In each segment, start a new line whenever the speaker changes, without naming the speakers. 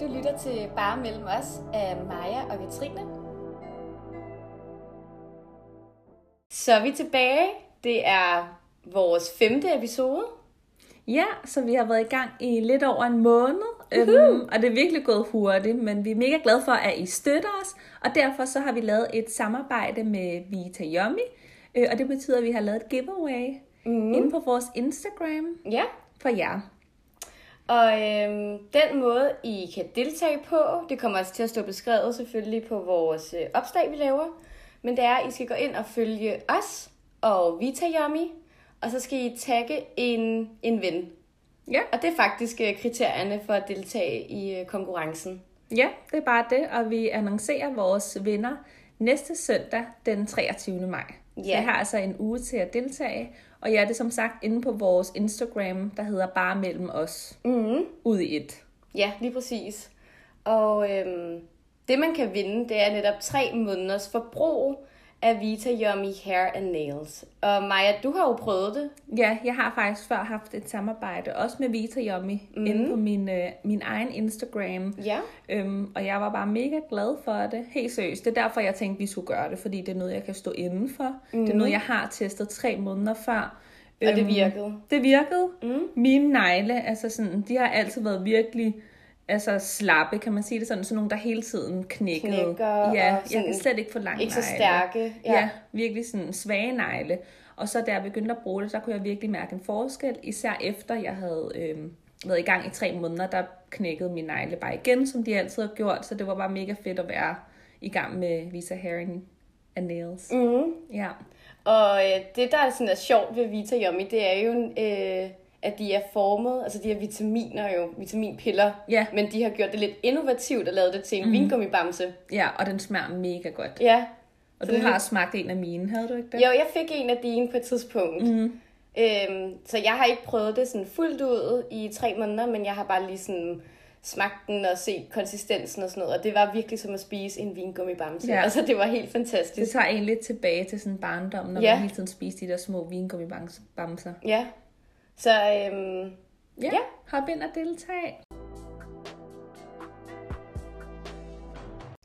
Du lytter til Bare Mellem Os af Maja og Katrine. Så er vi tilbage. Det er vores femte episode.
Ja, så vi har været i gang i lidt over en måned, øhm, og det er virkelig gået hurtigt, men vi er mega glade for, at I støtter os, og derfor så har vi lavet et samarbejde med Vita Yummy, øh, og det betyder, at vi har lavet et giveaway mm. inde på vores Instagram
Ja,
for jer.
og øhm, den måde, I kan deltage på, det kommer altså til at stå beskrevet selvfølgelig på vores øh, opslag, vi laver. Men det er, at I skal gå ind og følge os og Vita Yummy, og så skal I tagge en, en ven.
Ja.
Og det er faktisk øh, kriterierne for at deltage i øh, konkurrencen.
ja, det er bare det, og vi annoncerer vores vinder næste søndag den 23. maj. Så
Ja.
jeg har altså en uge til at deltage, og ja, det er som sagt inde på vores Instagram, der hedder Bare Mellem Os,
Mm.
ud i et.
Ja, lige præcis. Og øhm, det, man kan vinde, det er netop tre måneders forbrug af Vita Yummy Hair and Nails. Og Maja, du har jo prøvet det.
Ja, jeg har faktisk før haft et samarbejde, også med Vita Yummy,
Mhm.
mm. inde på min, øh, min egen Instagram.
Ja.
Øhm, og jeg var bare mega glad for det. Helt seriøst. Det er derfor, jeg tænkte, vi skulle gøre det, fordi det er noget, jeg kan stå indenfor. Mm. Det er noget, jeg har testet tre måneder før.
Mhm.
Øhm,
Og det virkede. Mhm.
Det virkede. Mm. Mine negle, altså sådan, de har altid været virkelig altså slappe, kan man sige det sådan, sådan nogle, der hele tiden knækkede.
Knækker og
ja, jeg
sådan
kan slet ikke få lange
Ikke så
negle.
stærke.
Ja. ja, virkelig sådan svage negle. Og så da jeg begyndte at bruge det, der kunne jeg virkelig mærke en forskel. Især efter jeg havde øh, været i gang i tre måneder, der knækkede min negle bare igen, som de altid har gjort. Så det var bare mega fedt at være i gang med Visa Herring and Nails.
Mm.
Ja.
Og øh, det, der er sådan er sjovt ved Vita Yummy, det er jo, øh, at de er formet, altså de her vitaminer jo, vitaminpiller.
Ja. Mhm.
Men de har gjort det lidt innovativt og lavet det til en mm. vingummibamse.
ja, og den smager mega godt.
Ja.
Og
Så
du
det-
har smagt en af mine, havde du ikke det?
Jo, jeg fik en af dine på et tidspunkt. Mm. Øhm, så jeg har ikke prøvet det sådan fuldt ud i tre måneder, men jeg har bare lige sådan smagt den og set konsistensen og sådan noget. Og det var virkelig som at spise en vingummibamse. Ja.
Ja.
Altså, det var helt
Det
fantastisk.
tager en lidt tilbage til sådan barndommen, når
Ja.
ja. man hele tiden spiste de der små vingummibamser.
Ja. Så øhm, Ja.
Ja, ja. hop ind og deltag.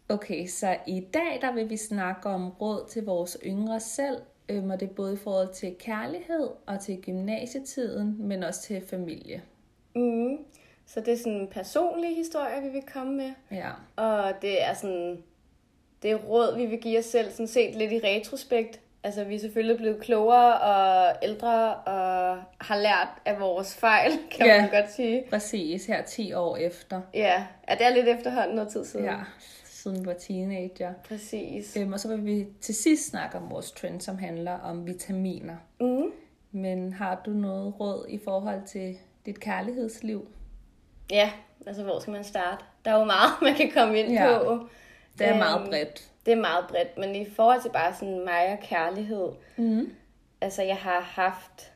Okay, så i dag der vil vi snakke om råd til vores yngre selv, øhm, og det er både i forhold til kærlighed og til gymnasietiden, men også til familie.
mm, så det er sådan en personlig historie, vi vil komme med.
Ja,
Og det er sådan, det er råd, vi vil give os selv, sådan set lidt i retrospekt. Altså, vi er selvfølgelig blevet klogere og ældre og har lært af vores fejl, kan
Ja.
man godt sige.
præcis her 10 år efter,
Ja, ja det er lidt efterhånden noget tid siden.
ja, siden vi var teenager.
Præcis.
Øhm, og så vil vi til sidst snakke om vores trend, som handler om vitaminer.
Mm.
Men har du noget råd i forhold til dit kærlighedsliv?
Ja, altså, hvor skal man starte? Der er jo meget, man kan komme ind
Ja.
på.
Det er meget
Øhm,
bredt.
Det er meget bredt, men i forhold til bare sådan mig og kærlighed,
Mm.
altså jeg har haft,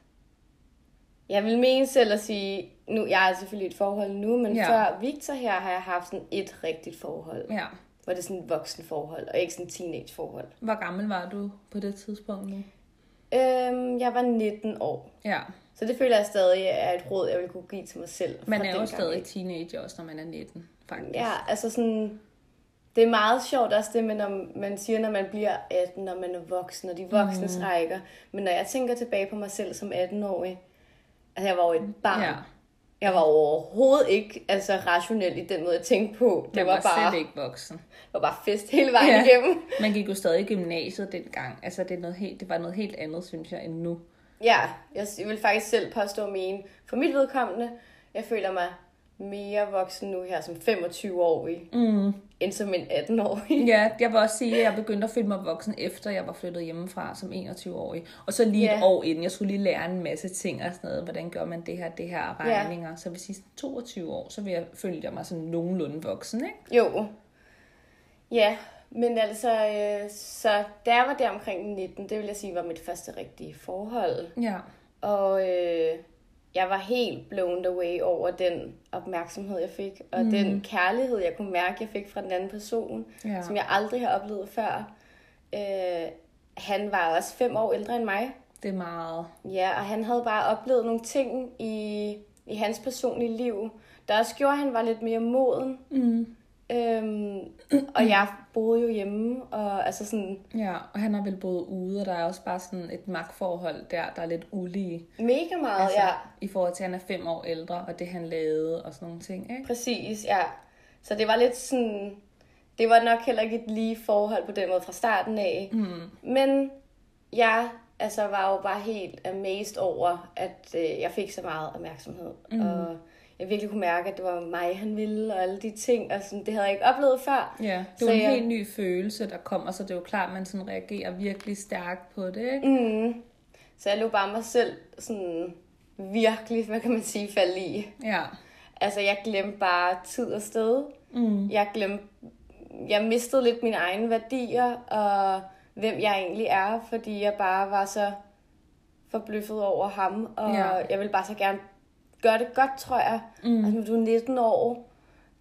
jeg vil mene selv at sige, nu, jeg er selvfølgelig i et forhold nu, men ja.
Ja.
før Victor her, har jeg haft sådan et rigtigt forhold,
Ja.
hvor det er sådan et voksen forhold, og ikke sådan et teenage forhold.
Hvor gammel var du på det tidspunkt nu?
Øhm, jeg var 19 år,
Ja.
så det føler jeg stadig er et råd, jeg vil kunne give til mig selv. fra
Man er jo
dengang,
stadig
ikke?
teenager også, når man er 19, faktisk.
Ja, altså sådan, det er meget sjovt også det, med, når man siger, når man bliver 18, når man er voksen, og de voksnes mm. rækker. Men når jeg tænker tilbage på mig selv som 18-årig, altså jeg var jo et barn.
ja.
Jeg var overhovedet ikke altså, rationel i den måde, jeg tænkte på. Det
Man
var,
var,
bare,
slet ikke voksen.
var bare fest hele vejen ja.
Ja.
igennem.
Man gik jo stadig i gymnasiet dengang. Altså, det, er noget helt, det var noget helt andet, synes jeg, end nu.
Ja, jeg s- jeg vil faktisk selv påstå mine. For mit vedkommende, jeg føler mig mere voksen nu her som 25-årig,
Mm.
end som en 18-årig.
Ja, jeg vil også sige, at jeg begyndte at føle mig voksen, efter jeg var flyttet hjemmefra som 21-årig. Og så lige
Ja.
et år inden, jeg skulle lige lære en masse ting og sådan noget. Hvordan gør man det her, det her og
Ja.
regninger. Så hvis jeg 22 år, så vil jeg, følte jeg mig sådan nogenlunde voksen, ikke?
Jo. Ja, men altså, øh, så da jeg var der omkring 19, det vil jeg sige var mit første rigtige forhold.
Ja.
Og øh, jeg var helt blown away over den opmærksomhed, jeg fik, og mm. den kærlighed, jeg kunne mærke, jeg fik fra den anden person, ja.
Ja.
som jeg aldrig har oplevet før. Øh, han var også fem år ældre end mig,
Det er meget.
ja, og han havde bare oplevet nogle ting i, i hans personlige liv, der også gjorde, at han var lidt mere moden.
Mm.
Øhm, og jeg boede jo hjemme, og altså sådan
Ja, og han har vel boet ude, og der er også bare sådan et magtforhold der, der er lidt ulige.
mega meget,
Altså,
altså. ja.
I forhold til, at han er fem år ældre, og det han lavede, og sådan nogle ting, ikke?
Præcis, ja. Så det var lidt sådan... Det var nok heller ikke et lige forhold på den måde fra starten af. Mm. Men jeg altså, var jo bare helt amazed over, at øh, jeg fik så meget opmærksomhed. Mm. Og jeg virkelig kunne mærke, at det var mig, han ville, og alle de ting. Og sådan, det havde jeg ikke oplevet før.
Ja, det
Så
er jo en
jeg-
helt ny følelse, der kommer, så det er jo klart, at man sådan reagerer virkelig stærkt på det, ikke? Mm.
Så jeg lå bare mig selv sådan virkelig, hvad kan man sige, falde i.
Ja.
Altså, jeg glemte bare tid og sted. Mm. Jeg glemte... Jeg mistede lidt mine egne værdier, og hvem jeg egentlig er, fordi jeg bare var så forbløffet over ham, og
Ja.
ja. jeg ville bare så gerne gøre det godt, tror jeg. Mm. Altså, nu er du 19 år,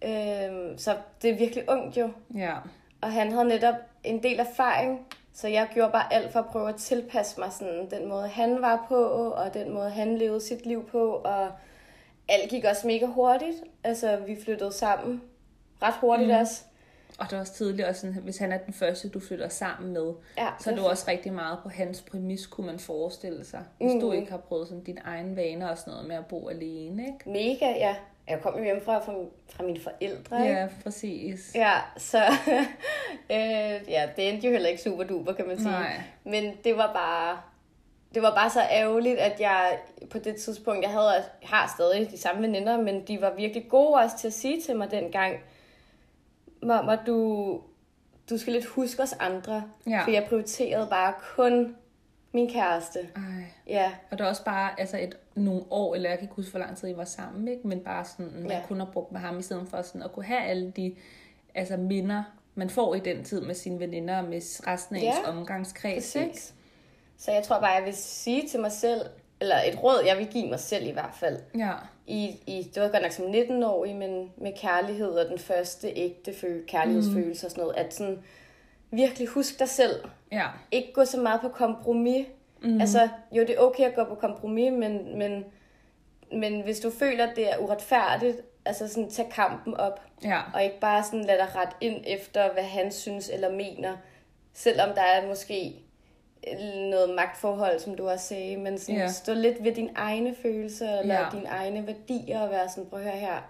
øhm, så det er virkelig ungt jo.
Ja.
Og han havde netop en del erfaring, så jeg gjorde bare alt for at prøve at tilpasse mig sådan, den måde, han var på, og den måde, han levede sit liv på. Og alt gik også mega hurtigt. Altså, vi flyttede sammen ret hurtigt mm. også.
Og det er også tidligere, også sådan, hvis han er den første, du flytter sammen med,
Ja,
så er du også rigtig meget på hans præmis, kunne man forestille sig. Hvis mm. du ikke har prøvet sådan dine egne vaner og sådan noget med at bo alene, ikke?
mega, ja. Jeg kom jo hjemmefra fra, fra mine forældre. ikke?
Ja, præcis.
Ja, så øh, ja, det endte jo heller ikke super duper, kan man sige.
Nej.
Men det var bare det var bare så ærgerligt, at jeg på det tidspunkt, jeg havde jeg har stadig de samme veninder, men de var virkelig gode også til at sige til mig dengang, mamma, du, du skal lidt huske os andre,
Ja.
for jeg prioriterede bare kun min kæreste.
Ej.
Ja,
Og der er også bare altså et, nogle år, eller jeg kan ikke huske, hvor lang tid I var sammen, ikke? men bare sådan, man ja.
Ja.
kun har brugt med ham, i stedet for sådan at kunne have alle de altså minder, man får i den tid med sine veninder og med resten af ja.
Ja,
ens omgangskreds. Ikke?
præcis. Så jeg tror bare, jeg vil sige til mig selv, eller et råd, jeg vil give mig selv i hvert fald,
Ja.
i, i, det var godt nok som 19-årig, men med kærlighed og den første ægte fø- kærlighedsfølelse og sådan noget, at sådan virkelig husk dig selv.
ja.
Ikke gå så meget på kompromis. Mm. Altså, jo, det er okay at gå på kompromis, men, men, men hvis du føler, at det er uretfærdigt, altså sådan, tag kampen op.
Ja.
Og ikke bare sådan lade dig ret ind efter, hvad han synes eller mener. Selvom der er måske noget magtforhold, som du også sagde, men sådan,
Ja.
yeah. stå lidt ved dine egne følelser, eller
Ja.
yeah. dine egne værdier, og være sådan, prøv at høre her.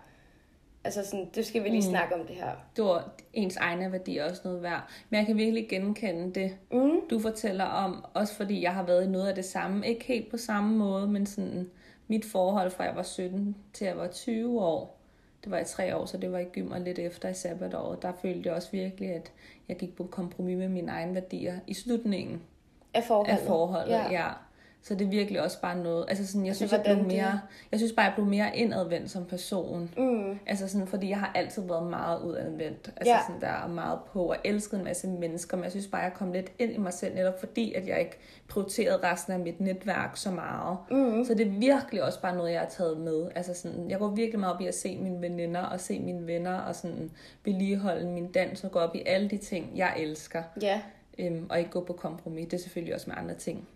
Altså sådan, det skal vi lige mm. snakke om det her.
det var ens egne værdier også noget værd. Men jeg kan virkelig genkende det, mm. du fortæller om. Også fordi jeg har været i noget af det samme. Ikke helt på samme måde, men sådan mit forhold fra jeg var 17 til jeg var 20 år. Det var i tre år, så det var i gym og lidt efter i sabbatåret. Der følte jeg også virkelig, at jeg gik på kompromis med mine egne værdier i slutningen
Af forholdet.
af forholdet. Ja.
Ja.
ja. Så det er virkelig også bare noget, altså sådan, jeg synes, jeg
hvordan
blev
det-
mere, jeg synes bare, jeg blev mere indadvendt som person. Mm. Altså sådan, fordi jeg har altid været meget udadvendt. Altså
Ja.
sådan, der er meget på og elsket en masse mennesker, men jeg synes bare, jeg kom lidt ind i mig selv, netop fordi, at jeg ikke prioriterede resten af mit netværk så meget. Mm. Så det er virkelig også bare noget, jeg har taget med. Altså sådan, jeg går virkelig meget op i at se mine veninder og se mine venner og sådan vedligeholde min dans og gå op i alle de ting, jeg elsker
Ja.
øhm, og ikke gå på kompromis. Det er selvfølgelig også med andre ting.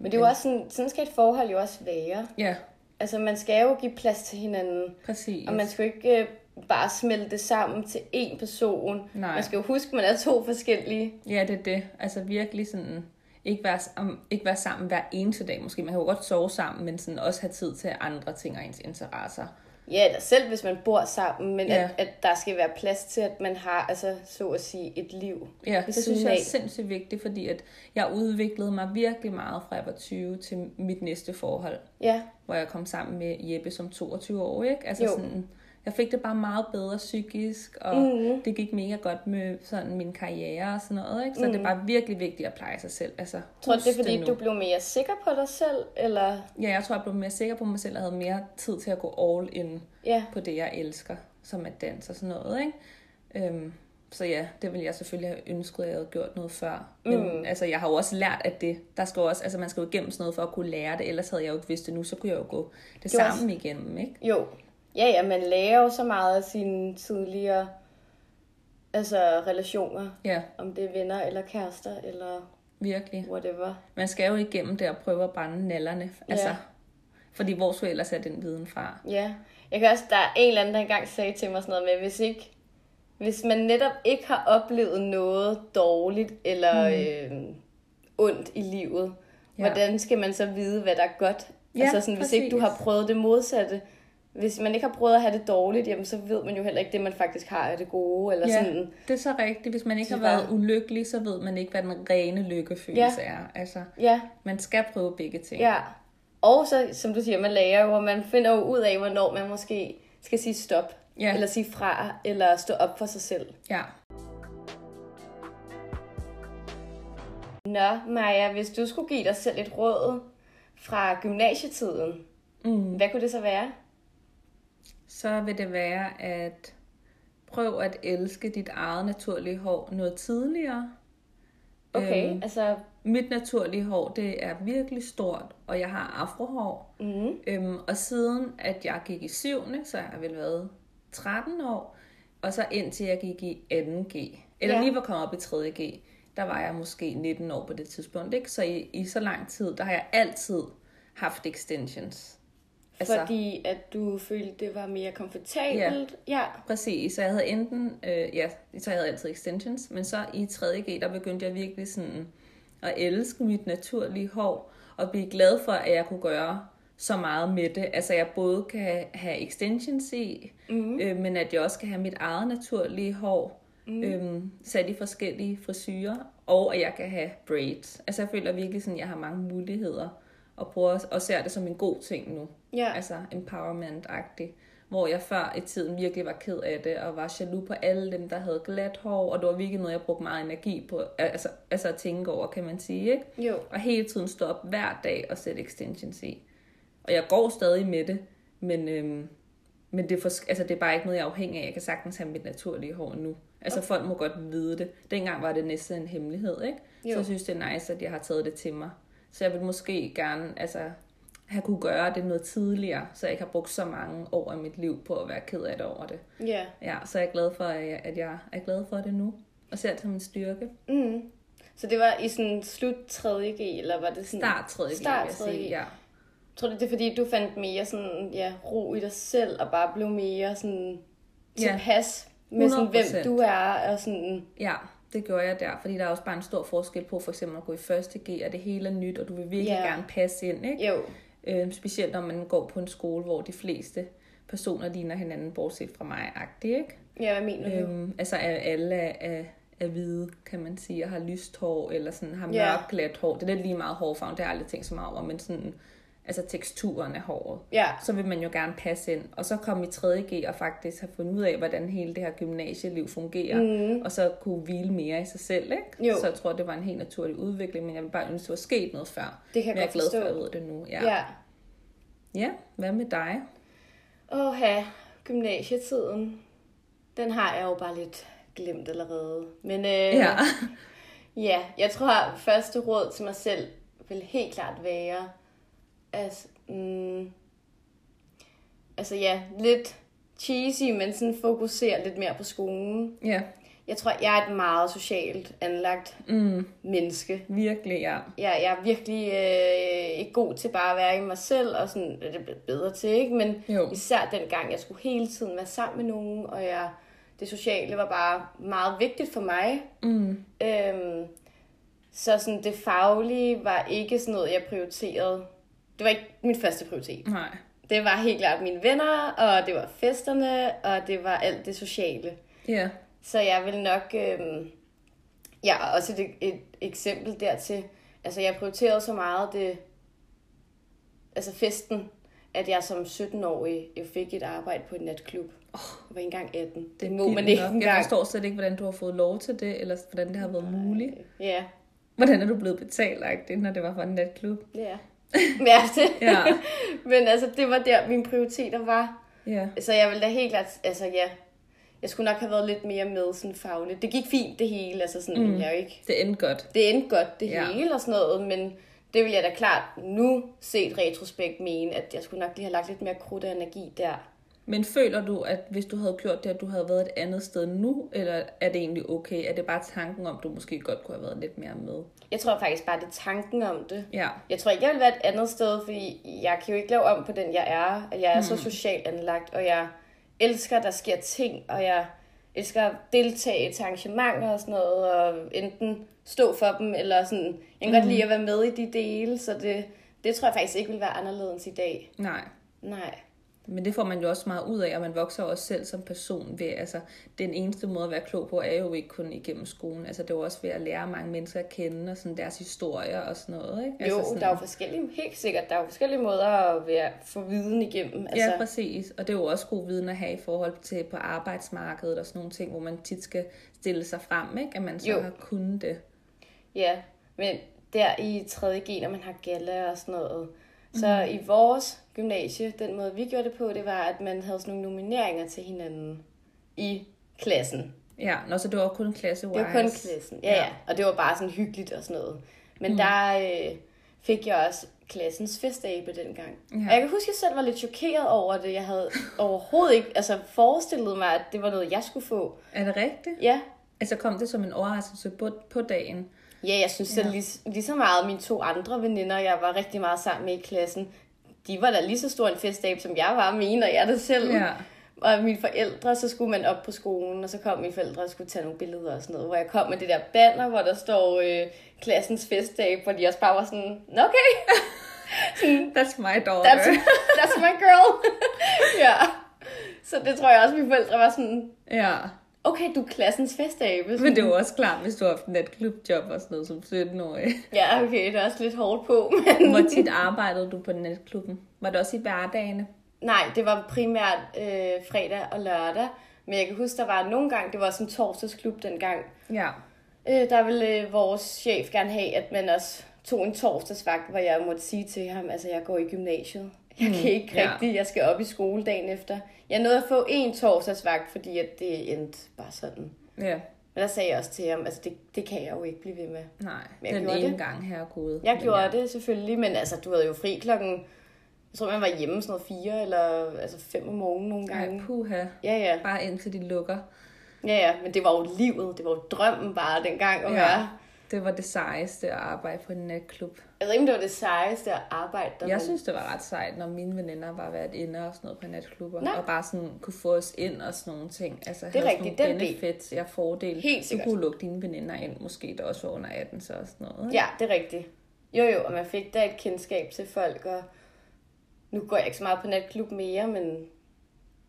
Men det er jo også sådan, sådan skal et forhold jo også være.
Ja,
Altså, man skal jo give plads til hinanden.
præcis.
Og man skal jo ikke øh, bare smelte det sammen til én person.
Nej.
Man skal jo huske, at man er to forskellige.
Ja, det er det. Altså virkelig sådan, ikke være, sam- ikke være sammen hver eneste dag måske. Man kan jo godt sove sammen, men sådan også have tid til andre ting og ens interesser.
Ja, eller selv hvis man bor sammen, men
Ja.
ja. at, at der skal være plads til, at man har, altså, så at sige, et liv.
Ja,
ved
det
siden
synes jeg er
af.
sindssygt vigtigt, fordi at jeg udviklede mig virkelig meget fra jeg var 20 til mit næste forhold.
Ja,
hvor jeg kom sammen med Jeppe som 22 år, ikke? Altså jo.
Jo.
sådan, jeg fik det bare meget bedre psykisk, og
Mhm.
mm. det gik mega godt med sådan min karriere og sådan noget, ikke? Så mm. det er bare virkelig vigtigt at pleje sig selv. Altså,
Mhm. tror du,
husk
det er fordi,
nu.
du blev mere sikker på dig selv, eller?
Ja, jeg tror, jeg blev mere sikker på mig selv, og havde mere tid til at gå all in
Ja,
på det, jeg elsker, som at danse og sådan noget, ikke? Øhm, så ja, det ville jeg selvfølgelig have ønsket, at jeg havde gjort noget før.
Mhm.
Men mm. altså, jeg har jo også lært, at det, der skal jo også, altså, man skal jo igennem sådan noget for at kunne lære det, ellers havde jeg jo ikke vidst det nu, så kunne jeg jo gå det
Det var
samme igennem, ikke?
jo. Ja, ja, man lærer jo så meget af sine tidligere altså, relationer.
Ja,
Om det er venner eller kærester, eller
virkelig.
whatever.
Man skal jo igennem det og prøve at brænde nallerne. Altså,
Ja.
Fordi hvor skulle jeg ellers have den viden fra?
Ja, Jeg kan også, der er en eller anden, der engang sagde til mig sådan noget med, hvis ikke hvis man netop ikke har oplevet noget dårligt eller mm. øh, ondt i livet,
Hmm. Ja.
ja. hvordan skal man så vide, hvad der er godt?
Ja,
Ja, altså sådan, hvis ikke du
præcis.
har prøvet det modsatte, hvis man ikke har prøvet at have det dårligt, jamen så ved man jo heller ikke det, man faktisk har er det gode. Eller
Ja,
ja. sådan.
det er så rigtigt. Hvis man ikke
Det
har
er
været
bare-
ulykkelig, så ved man ikke, hvad den rene lykkefølelse ja. er. Altså,
Ja,
man skal prøve begge ting.
ja. Og så, som du siger, man lærer jo, og man finder jo ud af, hvornår man måske skal sige stop,
Ja.
eller sige fra, eller stå op for sig selv.
ja.
Nå, Maja, hvis du skulle give dig selv et råd fra gymnasietiden,
Mm.
hvad kunne det så være?
Så vil det være at prøv at elske dit eget naturlige hår noget tidligere.
Okay, øhm. altså...
Mit naturlige hår, det er virkelig stort, og jeg har afrohår.
Mm,
Øhm, og siden at jeg gik i 7. så har jeg vel været 13 år, og så indtil jeg gik i 2G, eller ja.
Ja.
lige var kommet op i 3G, der var jeg måske 19 år på det tidspunkt. Ikke? Så i, i så lang tid, der har jeg altid haft extensions.
altså... Fordi at du følte, det var mere komfortabelt. Ja. ja.
Præcis, så jeg havde enten, øh, ja, så jeg havde altid extensions, men så i 3.G, der begyndte jeg virkelig sådan at elske mit naturlige hår, og blive glad for, at jeg kunne gøre så meget med det. Altså jeg både kan have extensions i, mm. øh, men at jeg også kan have mit eget naturlige hår, mm. øh, sat i forskellige frisyrer, og at jeg kan have braids. Altså jeg føler virkelig sådan, at jeg har mange muligheder, og, prøver, og ser det som en god ting nu
ja. Altså...
altså empowerment-agtig, hvor jeg før i tiden virkelig var ked af det, og var jaloux på alle dem, der havde glat hår, og det var virkelig noget, jeg brugte meget energi på, altså, altså at tænke over, kan man sige, ikke?
Jo.
Og hele tiden stå op hver dag og sætte extensions i. Og jeg går stadig med det, men, øhm, men det, er for, altså, det er bare ikke noget, jeg er afhængig af. Jeg kan sagtens have mit naturlige hår nu. Altså okay. folk må godt vide det. Dengang var det næsten en hemmelighed, ikke? Jo. Så
Jo.
jeg synes, det er nice, at jeg har taget det til mig. Så jeg vil måske gerne altså, have kunne gøre det noget tidligere, så jeg ikke har brugt så mange år af mit liv på at være ked af det over det.
Ja.
Ja, så er jeg glad for, at jeg, at jeg er glad for det nu. Og ser det som en styrke.
Mm. Så det var i sådan slut 3.G, eller var det sådan...
Start 3.
Start
jeg sige.
3.G.
Ja.
Tror du, det er fordi, du fandt mere sådan, ja, ro i dig selv, og bare blev mere sådan
Ja.
tilpas med sådan, hvem
100%.
du er, og sådan...
Ja, det gjorde jeg der, fordi der er også bare en stor forskel på for eksempel at gå i første G, og det hele er nyt, og du vil virkelig
Ja.
gerne passe ind, ikke?
Jo.
Øhm, specielt når man går på en skole, hvor de fleste personer ligner hinanden, bortset fra mig, agtigt, ikke?
Ja, hvad mener du?
Øhm, altså er alle er, er, er hvide, kan man sige, og har lyst hår, eller sådan har
Ja.
mørkt glat hår. Det er lidt lige meget hårfarven, det har jeg aldrig tænkt så meget over, men sådan, altså teksturen af håret
Ja.
så vil man jo gerne passe ind. Og så komme i 3.G og faktisk have fundet ud af, hvordan hele det her gymnasieliv fungerer, mm. og så kunne hvile mere i sig selv. Ikke?
Mhm. Jo.
Så jeg tror, det var en helt naturlig udvikling, men jeg vil bare ønske, det var sket noget før.
Det kan jeg
men jeg er
godt
glad for, at jeg
forstå.
ved det nu. Ja.
Ja.
ja. ja. hvad med dig?
Åh ja, gymnasietiden. Den har jeg jo bare lidt glemt allerede. Men øh,
Ja.
Ja, jeg tror, at første råd til mig selv vil helt klart være, altså, mm, altså ja, lidt cheesy, men sådan fokusere lidt mere på skolen.
ja,
Jeg tror, jeg er et meget socialt anlagt mm. menneske.
virkelig, ja.
Jeg, jeg er virkelig øh, ikke god til bare at være i mig selv, og sådan, det er blevet bedre til, ikke? Men
Jo.
især dengang, jeg skulle hele tiden være sammen med nogen, og jeg, det sociale var bare meget vigtigt for mig.
Mm.
Øhm, så sådan, det faglige var ikke sådan noget, jeg prioriterede. Det var ikke min første prioritet.
Nej.
Det var helt klart mine venner, og det var festerne, og det var alt det sociale.
Ja,
Så jeg vil nok... Øhm, ja, og også et, et eksempel dertil. Altså, jeg prioriterede så meget det... Altså festen, at jeg som 17-årig jeg fik et arbejde på en natklub. Oh, jeg var ikke engang 18. Det, det må
vildt
man ikke
nok. Jeg
engang.
forstår slet ikke, hvordan du har fået lov til det, eller hvordan det har været muligt.
Ja,
Hvordan er du blevet betalt, agtigt, når det var for en natklub?
det er. Mærke det.
Ja,
Men altså, det var der, mine prioriteter var.
ja.
Så jeg ville da helt klart, altså ja, jeg skulle nok have været lidt mere med sådan fagligt. Det gik fint det hele, altså sådan, mm. jeg er jo ikke,
Det endte godt.
det endte godt det
Ja.
ja. hele og sådan noget, men det vil jeg da klart nu set retrospekt mene, at jeg skulle nok lige have lagt lidt mere krudt og energi der.
Men føler du, at hvis du havde gjort det, at du havde været et andet sted nu, eller er det egentlig okay? Er det bare tanken om, du måske godt kunne have været lidt mere med?
Jeg tror faktisk bare, det er tanken om det.
Ja,
Jeg tror ikke, jeg vil være et andet sted, fordi jeg kan jo ikke lave om på den, jeg er. At Jeg er så socialt anlagt, og jeg elsker, at der sker ting, og jeg elsker at deltage til arrangementer og sådan noget, og enten stå for dem, eller sådan, jeg kan godt lide at være med i de dele, så det, det tror jeg faktisk ikke vil være anderledes i dag.
nej.
Nej.
Men det får man jo også meget ud af, og man vokser jo også selv som person ved, altså den eneste måde at være klog på, er jo ikke kun igennem skolen, altså det er jo også ved at lære mange mennesker at kende, og sådan deres historier og sådan noget, ikke?
Jo,
altså sådan,
der er jo forskellige, helt sikkert, der er jo forskellige måder at være, få viden igennem.
Ja,
Altså,
præcis, og det er jo også god viden at have i forhold til på arbejdsmarkedet og sådan nogle ting, hvor man tit skal stille sig frem, ikke? At man så
Jo.
har kunnet det.
ja, men der i 3.G, når man har gala og sådan noget. Så
Mhm.
i vores gymnasie, den måde vi gjorde det på, det var, at man havde sådan nogle nomineringer til hinanden i klassen.
Ja, nå, så det var kun klasse
Det var kun klassen, ja, ja. Og det var bare sådan hyggeligt og sådan noget. Men
Mhm.
mm. der øh, fik jeg også klassens festabe dengang. Ja. Og jeg kan huske, at jeg selv var lidt chokeret over det. Jeg havde overhovedet ikke altså, forestillet mig, at det var noget, jeg skulle få.
Er det rigtigt?
Ja,
Altså kom det som en overraskelse på, på dagen?
Ja, jeg synes, at lige, lige så meget mine to andre veninder, jeg var rigtig meget sammen med i klassen, de var da lige så stor en festabe, som jeg var, mener jeg det selv.
Ja.
Og mine forældre, så skulle man op på skolen, og så kom mine forældre og skulle tage nogle billeder og sådan noget, hvor jeg kom med det der banner, hvor der står øh, klassens festdag, hvor de også bare var sådan, "Nå, okay,
That's my daughter.
that's, that's my girl. ja. Så det tror jeg også, mine forældre var sådan,
Ja.
okay, du er klassens festabe.
Men det er jo også klart, hvis du har haft natklubjob og sådan noget som 17-årig.
Ja, okay, det er også lidt hårdt på, men...
Hvor tit arbejdede du på natklubben? Var det også i hverdagene?
Nej, det var primært øh, fredag og lørdag. Men jeg kan huske, der var nogle gange, det var sådan en torsdagsklub dengang.
Ja.
Øh, der ville øh, vores chef gerne have, at man også tog en torsdagsvagt, hvor jeg måtte sige til ham, altså jeg går i gymnasiet. Jeg kan ikke
ja.
rigtig, jeg skal op i skole dagen efter. Jeg nåede at få en torsdagsvagt, fordi at det endte bare sådan.
Ja.
Men der sagde jeg også til ham, altså det, det kan jeg jo ikke blive ved med.
Nej,
Men jeg
den
gjorde
ene
det.
gang her gode.
Jeg gjorde ja. det selvfølgelig, men altså du havde jo fri klokken, jeg tror man var hjemme sådan noget fire eller altså fem om morgenen nogle gange.
Nej, puha.
Ja, ja.
Bare indtil de lukker.
Ja, ja, men det var jo livet, det var jo drømmen bare dengang at ja. være.
Det var det sejeste at arbejde på en natklub.
Jeg ved ikke, om det var det sejeste at arbejde der.
Jeg
men-
synes, det var ret sejt, når mine veninder var været inde og sådan noget på natklubber.
Nå.
Og bare sådan kunne få os ind og sådan nogle ting. Altså, det
rigtigt,
Nogle
den del.
benefits, jeg fordel.
Helt sikkert.
Du kunne lukke dine veninder ind, måske der også var under 18, så og sådan noget. ikke?
Ja, det er rigtigt. Jo, jo, og man fik da et kendskab til folk, og nu går jeg ikke så meget på natklub mere, men,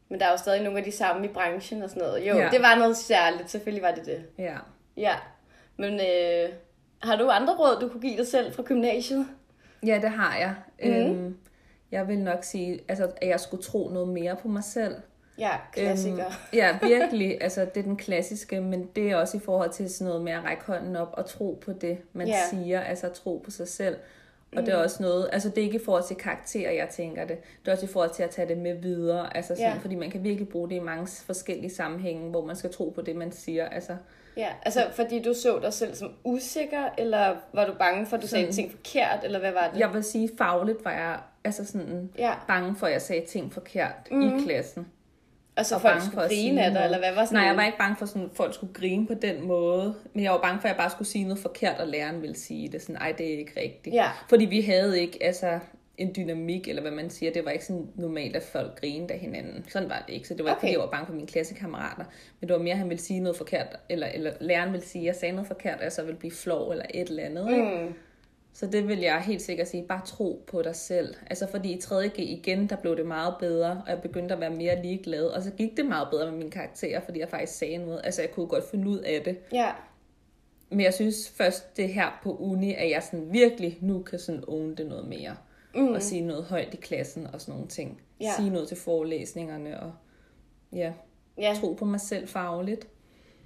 men der er jo stadig nogle af de samme i branchen og sådan noget. Jo,
Ja.
ja. det var noget særligt, selvfølgelig var det det.
ja.
Ja, men øh, har du andre råd, du kunne give dig selv fra gymnasiet?
Ja, det har jeg. Mm.
Mhm.
Øhm, jeg vil nok sige, altså, at jeg skulle tro noget mere på mig selv.
Ja, klassiker.
Øhm, ja, virkelig. Altså, det er den klassiske, men det er også i forhold til sådan noget med at række hånden op og tro på det, man
Ja. Mm.
siger. Altså, at tro på sig selv. Og det er også noget, altså det er ikke i forhold til karakterer, jeg tænker det. Det er også i forhold til at tage det med videre. Altså sådan,
Ja.
fordi man kan virkelig bruge det i mange forskellige sammenhænge, hvor man skal tro på det, man siger. Altså,
Ja, altså fordi du så dig selv som usikker, eller var du bange for, at du sagde ting forkert, eller hvad var det?
jeg vil sige, fagligt var jeg altså sådan
Ja.
bange for, at jeg sagde ting forkert mm. i klassen.
Og så
og
folk
bange for
skulle
at sige
grine af dig,
noget.
eller hvad var sådan?
Nej, jeg var ikke bange for, sådan, at folk skulle grine på den måde. Men jeg var bange for, at jeg bare skulle sige noget forkert, og læreren ville sige det. Sådan, ej, det er ikke rigtigt.
Ja.
Fordi vi havde ikke altså, en dynamik, eller hvad man siger. Det var ikke sådan normalt, at folk grinede af hinanden. Sådan var det ikke. Så det var okay. ikke,
Okay.
fordi jeg var bange for mine klassekammerater. Men det var mere, at han ville sige noget forkert, eller, eller læreren ville sige, at jeg sagde noget forkert, og jeg så ville blive flov eller et eller andet. Ikke?
Mm.
Så det vil jeg helt sikkert sige, bare tro på dig selv. Altså fordi i 3.G igen, der blev det meget bedre, og jeg begyndte at være mere ligeglad. Og så gik det meget bedre med mine karakterer, fordi jeg faktisk sagde noget. Altså jeg kunne godt finde ud af det.
Ja,
Men jeg synes først det her på uni, at jeg sådan virkelig nu kan sådan own det noget mere. Mm. Og sige noget højt i klassen og sådan nogle ting.
Ja.
Sige noget til forelæsningerne og ja,
ja.
tro på mig selv fagligt.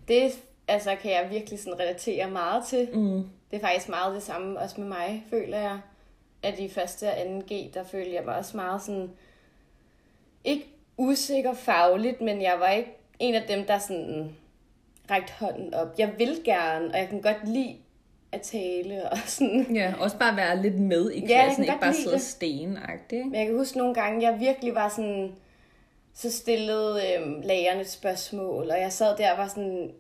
det altså, kan jeg virkelig sådan relatere meget til.
Mm.
Det er faktisk meget det samme også med mig, føler jeg. At i første og anden G, der følte jeg mig også meget sådan... Ikke usikker fagligt, men jeg var ikke en af dem, der sådan rækte hånden op. Jeg vil gerne, og jeg kan godt lide at tale og sådan.
Ja, også bare være lidt med i
jeg kan
klassen, ikke
godt
bare
lide
sidde
det.
stenagtigt. ikke?
Men jeg kan huske nogle gange, jeg virkelig var sådan, så stillede øhm, lærerne et spørgsmål, og jeg sad der og var sådan,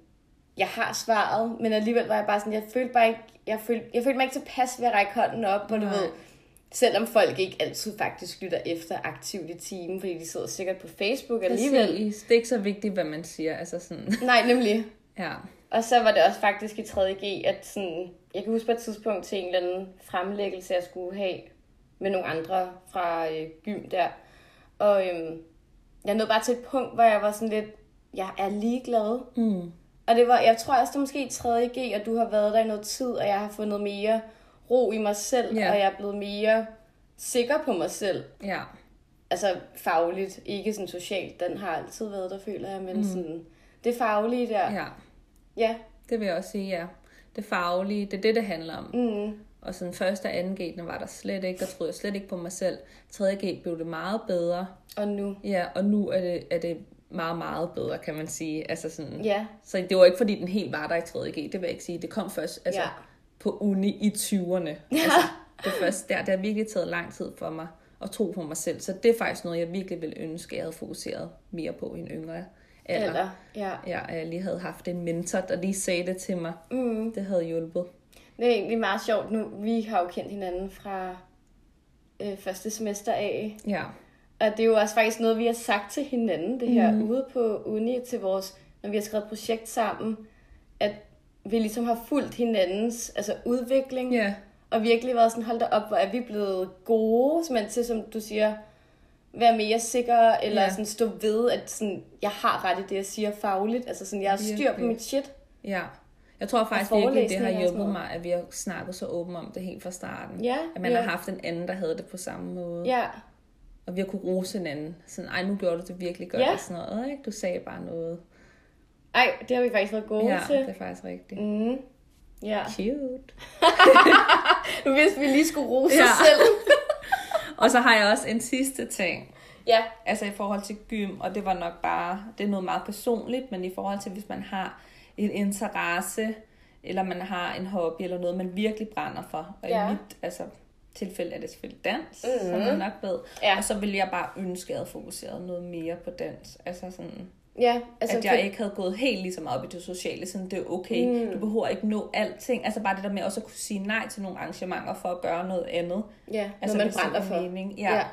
jeg har svaret, men alligevel var jeg bare sådan, jeg følte, bare ikke, jeg følte, jeg følte mig ikke tilpas ved at række hånden op, og du
Nej.
ved, selvom folk ikke altid faktisk lytter efter aktivt i timen, fordi de sidder sikkert på Facebook alligevel.
Præcis. Det er ikke så vigtigt, hvad man siger. Altså sådan,
Nej, nemlig.
ja.
Og så var det også faktisk i 3.G, at sådan, jeg kan huske på et tidspunkt til en eller anden fremlæggelse, jeg skulle have med nogle andre fra øh, gym der. Og øhm, jeg nåede bare til et punkt, hvor jeg var sådan lidt, jeg er ligeglad.
Mm.
Og det var, jeg tror også, det er måske i 3.G, og du har været der i noget tid, og jeg har fundet mere ro i mig selv,
Ja.
og jeg er blevet mere sikker på mig selv.
Ja.
Altså fagligt, ikke sådan socialt. Den har altid været der, føler jeg, men mm. sådan, det faglige der. Ja.
ja.
ja.
Det vil jeg også sige, ja. Det faglige, det er det, det handler om.
Mm.
Og sådan første og anden G, den var der slet ikke. Der troede jeg slet ikke på mig selv. 3. G blev det meget bedre.
Og nu.
Ja, og nu er det, er det meget, meget bedre, kan man sige. Altså sådan,
Ja,
Så det var ikke, fordi den helt var der i 3. G. Det vil jeg ikke sige. Det kom først altså,
Ja.
på uni i 20'erne. Altså, det er først der. Det har virkelig taget lang tid for mig at tro på mig selv. Så det er faktisk noget, jeg virkelig ville ønske, jeg havde fokuseret mere på i en yngre alder.
eller, ja.
Ja, og jeg lige havde haft en mentor, der lige sagde det til mig.
Mm.
Det havde hjulpet.
Det er egentlig meget sjovt nu. Vi har jo kendt hinanden fra øh, første semester af.
Ja,
Og det er jo også faktisk noget, vi har sagt til hinanden, det her
Mhm.
mm. ude på uni til vores, når vi har skrevet projekt sammen, at vi ligesom har fulgt hinandens altså udvikling,
ja,
og virkelig været sådan, hold da op, hvor er vi blevet gode, men til, som du siger, være mere sikker, eller
Ja.
sådan stå ved, at sådan, jeg har ret i det, jeg siger fagligt, altså sådan, jeg har styr på
Virkelig.
mit shit.
ja. Jeg tror faktisk
Og
virkelig, det
forelæsninger
har
og sådan
hjulpet
noget.
mig, at vi har snakket så åbent om det helt fra starten.
Ja,
At man
ja.
har haft en anden, der havde det på samme måde.
Ja,
Og vi har kunnet rose hinanden. Sådan, ej, nu gjorde du det virkelig godt.
Ja.
Og sådan noget, ikke? Du sagde bare noget.
ej, det har vi faktisk været gode
ja,
til.
det er faktisk rigtigt.
Mm. Ja.
Cute.
Nu vidste vi lige skulle rose ja.
Ja.
os selv.
Og så har jeg også en sidste ting.
Ja.
Altså i forhold til gym, og det var nok bare, det er noget meget personligt, men i forhold til, hvis man har en interesse, eller man har en hobby, eller noget, man virkelig brænder for. Og
Ja. Mhm.
i mit altså, tilfælde er det selvfølgelig dans, mm-hmm. som man nok ved.
Ja.
Og så ville jeg bare ønske, at jeg havde fokuseret noget mere på dans. Altså sådan,
Ja, altså,
altså, at jeg ikke havde gået helt lige så meget op i det sociale, sådan det er okay, mm. du behøver ikke nå alting. Altså bare det der med også at kunne sige nej til nogle arrangementer for at gøre noget andet.
ja,
Altså,
altså, når man
hvis det
brænder
giver
for.
Mening. Ja. ja.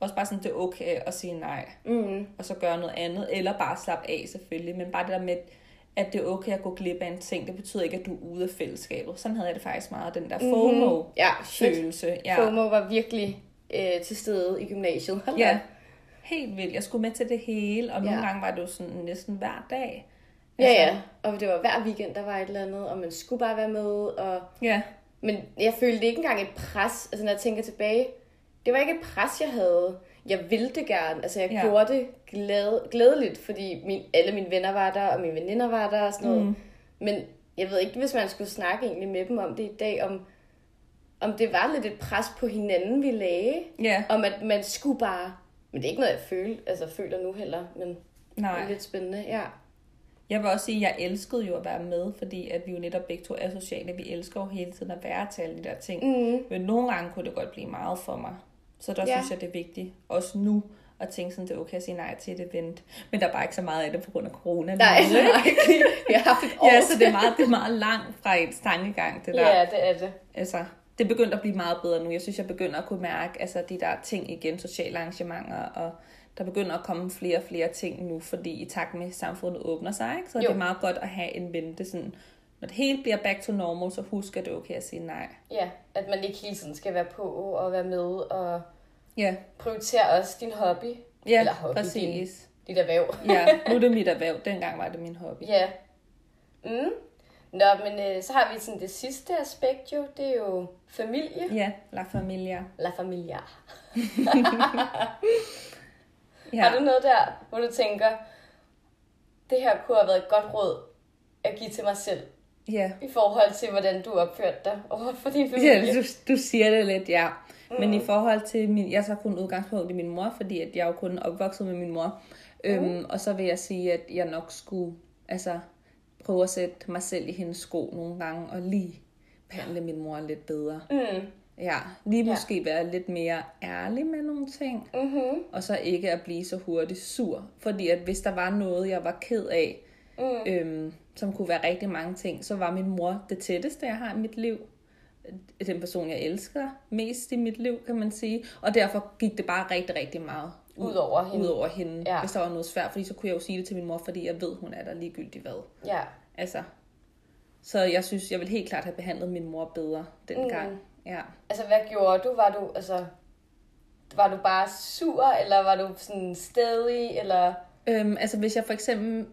Også bare sådan, det er okay at sige nej,
Mm.
og så gøre noget andet, eller bare slappe af selvfølgelig, men bare det der med, at det er okay at gå glip af en ting, det betyder ikke, at du er ude af fællesskabet. Sådan havde jeg det faktisk meget, den der FOMO-følelse.
Ja, shit.
Ja,
Mhm. FOMO var virkelig øh, til stede i gymnasiet. Hold
ja.
da.
Helt vildt. Jeg skulle med til det hele, og nogle
Ja.
gange var det jo sådan næsten hver dag. Altså,
ja, ja. Og det var hver weekend, der var et eller andet, og man skulle bare være med. Og...
Ja,
Men jeg følte ikke engang et pres. Altså, når jeg tænker tilbage, det var ikke et pres, jeg havde. Jeg ville det gerne. Altså, jeg
Ja.
ja. gjorde det glæde, glædeligt, fordi min, alle mine venner var der, og mine veninder var der og sådan noget. Mm. Men jeg ved ikke, hvis man skulle snakke egentlig med dem om det i dag, om, om det var lidt et pres på hinanden, vi lagde.
ja.
Om at man skulle bare... Men det er ikke noget, jeg føler, altså, føler nu heller, men det er
Nej.
lidt spændende. Ja,
Jeg vil også sige, at jeg elskede jo at være med, fordi at vi jo netop begge to er sociale. Vi elsker jo hele tiden at være til alle de der ting. Mm. Men nogle gange kunne det godt blive meget for mig. Så der
Ja.
ja. synes jeg, det er vigtigt, også nu, at tænke sådan, det er okay at sige nej til et event. Men der er bare ikke så meget af det på grund af corona.
nej,
nu, ikke?
vi har haft et år.
Ja, så det er, meget, det er meget langt fra ens tankegang, det der.
ja, det er det.
Altså, det er begyndt at blive meget bedre nu. Jeg synes, jeg begynder at kunne mærke altså, de der ting igen, sociale arrangementer, og der begynder at komme flere og flere ting nu, fordi i takt med, at samfundet åbner sig, ikke? så jo.
Jo.
det er meget godt at have en vente. Sådan, når det hele bliver back to normal, så husk, at det er okay at sige nej.
Ja, at man ikke hele tiden skal være på og være med og
Ja,
prioritere også din hobby.
ja
Eller hobby,
præcis.
Dit erhverv.
Ja, nu er det mit erhverv. Dengang var det min hobby.
Ja. Mm. Nå, men øh, så har vi sådan det sidste aspekt jo, det er jo familie.
Ja, la familia.
La familia. Ja.
Ja.
Har du noget der, hvor du tænker, det her kunne have været et godt råd at give til mig selv,
ja.
i forhold til, hvordan du opførte dig over for din familie?
Ja, du, du siger det lidt, ja. Men i forhold til min... Jeg tager kun udgangspunkt i min mor, fordi at jeg er jo kun opvokset med min mor. Øhm, og så vil jeg sige, at jeg nok skulle altså, prøve at sætte mig selv i hendes sko nogle gange, og lige behandle min mor lidt bedre.
Mm.
Ja, lige måske ja. være lidt mere ærlig med nogle ting,
Mm-hmm.
og så ikke at blive så hurtigt sur. Fordi at hvis der var noget, jeg var ked af,
Mm.
øhm, som kunne være rigtig mange ting, så var min mor det tætteste, jeg har i mit liv. Den person, jeg elsker mest i mit liv, kan man sige. Og derfor gik det bare rigtig, rigtig meget
Ud over hende.
ud over hende ja.
Ja.
hvis der var noget svært. Fordi så kunne jeg jo sige det til min mor, fordi jeg ved, hun er der ligegyldigt hvad.
Ja.
Altså, så jeg synes, jeg ville helt klart have behandlet min mor bedre dengang. Mm. Ja.
Altså, hvad gjorde du? Var du, altså, var du bare sur, eller var du sådan stedig, eller...
Øhm, altså hvis jeg for eksempel,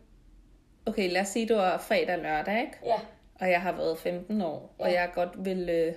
okay lad os sige, det var fredag og lørdag, ikke?
Ja.
og jeg har været 15 år, ja. og
Ja.
jeg godt vil øh,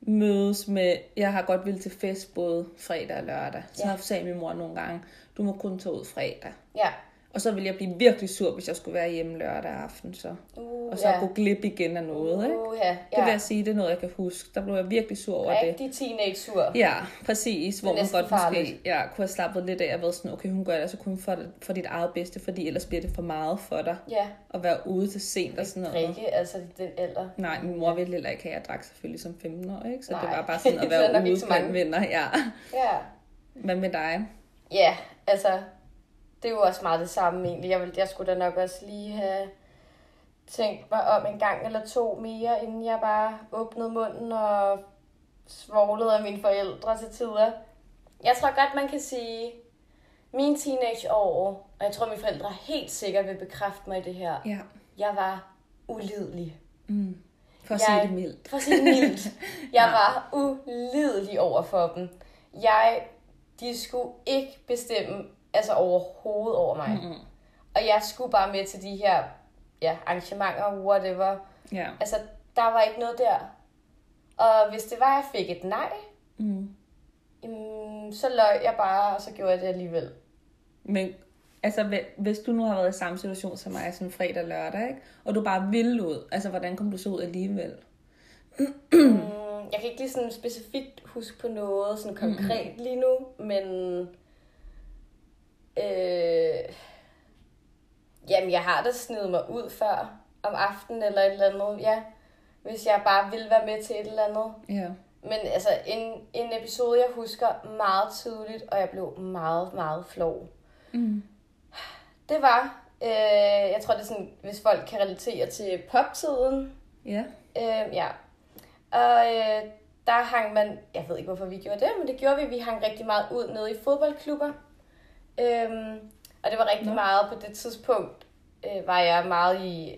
mødes med, jeg har godt vil til fest både fredag og lørdag. Så ja. sagde min mor nogle gange, du må kun tage ud fredag.
Ja.
Og så ville jeg blive virkelig sur, hvis jeg skulle være hjemme lørdag aften, så.
Uh,
og så
ja.
gå glip igen af noget. Ikke?
Uh, ja.
Det vil
ja.
jeg sige, det er noget, jeg kan huske. Der blev jeg virkelig sur over det.
Rigtig teenage-sur.
Ja, præcis. Hvor
Det er
man
næsten
godt måske
farligt.
ja, kunne have slappet lidt af og været sådan, okay, hun gør det altså kun for, for dit eget bedste, fordi ellers bliver det for meget for dig
Ja.
at være ude til sent og sådan noget.
Rikke, altså den alder.
Nej, min mor ville heller ikke have, at jeg drak selvfølgelig som 15 år, ikke? Så Nej. det
Nej.
var bare sådan at
Så er der nok
være
ikke
ude
så
blandt
mange.
venner, ja.
Ja.
Hvad med dig?
Ja, altså, det er jo også meget det samme egentlig. Jeg, ville, jeg skulle da nok også lige have tænkt mig om en gang eller to mere, inden jeg bare åbnede munden og svoglede af mine forældre til tider. Jeg tror godt, man kan sige, min teenageår, og jeg tror, mine forældre helt sikkert vil bekræfte mig i det her,
Ja,
jeg var ulidelig.
for at sige
Jeg-
det mildt.
For at sige det mildt. Jeg var ulidelig over for dem. Jeg, de skulle ikke bestemme altså overhovedet over mig. Mm-hmm. Og jeg skulle bare med til de her ja, arrangementer, whatever.
Ja.
Altså, der var ikke noget der. Og hvis det var, at jeg fik et nej,
Mm.
jamen, så løj jeg bare, og så gjorde jeg det alligevel.
Men altså, hve- hvis du nu har været i samme situation som mig, sådan fredag og lørdag, ikke? og du bare ville ud, altså, hvordan kom du så ud alligevel?
Mm, Jeg kan ikke lige sådan specifikt huske på noget sådan konkret mm. lige nu, men øh, jamen jeg har da snedet mig ud før om aftenen eller et eller andet, ja. Hvis jeg bare ville være med til et eller andet.
Ja.
Men altså en, en episode, jeg husker meget tydeligt, og jeg blev meget, meget flov.
Mm.
Det var, øh, jeg tror det er sådan, hvis folk kan relatere til poptiden,
Ja.
Øh, ja. Og øh, der hang man, jeg ved ikke hvorfor vi gjorde det, men det gjorde vi. Vi hang rigtig meget ud nede i fodboldklubber. Øh, og det var rigtig
Nå.
Nå. meget på det tidspunkt, øh, var jeg meget i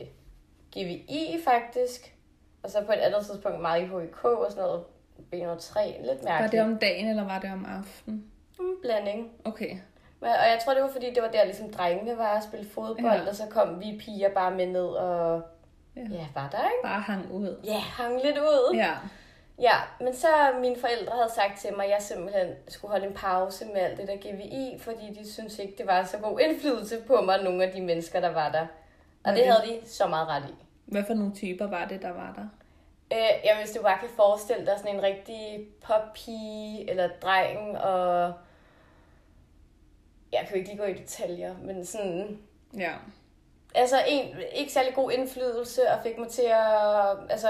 GVI faktisk. Og så på et andet tidspunkt meget i HIK og sådan noget. B03, lidt
Var
mærkeligt.
det om dagen, eller var det om aftenen?
Mm, blanding.
Okay.
Men, og jeg tror, det var fordi, det var der ligesom drengene var at spille fodbold,
Ja.
ja. og så kom vi piger bare med ned og...
Ja.
Ja, ja var der, ikke?
Bare hang ud.
Ja, hang lidt ud.
Ja.
Ja, men så mine forældre havde sagt til mig, at jeg simpelthen skulle holde en pause med alt det der GVI, fordi de syntes ikke, det var så god indflydelse på mig, nogle af de mennesker, der var der. Og det
Okay.
havde de så meget ret i.
Hvad for nogle typer var det, der var der?
Øh, ja, hvis du bare kan forestille dig sådan en rigtig poppige eller dreng, og jeg kan jo ikke lige gå i detaljer, men sådan...
Ja.
Altså, en, ikke særlig god indflydelse, og fik mig til at altså,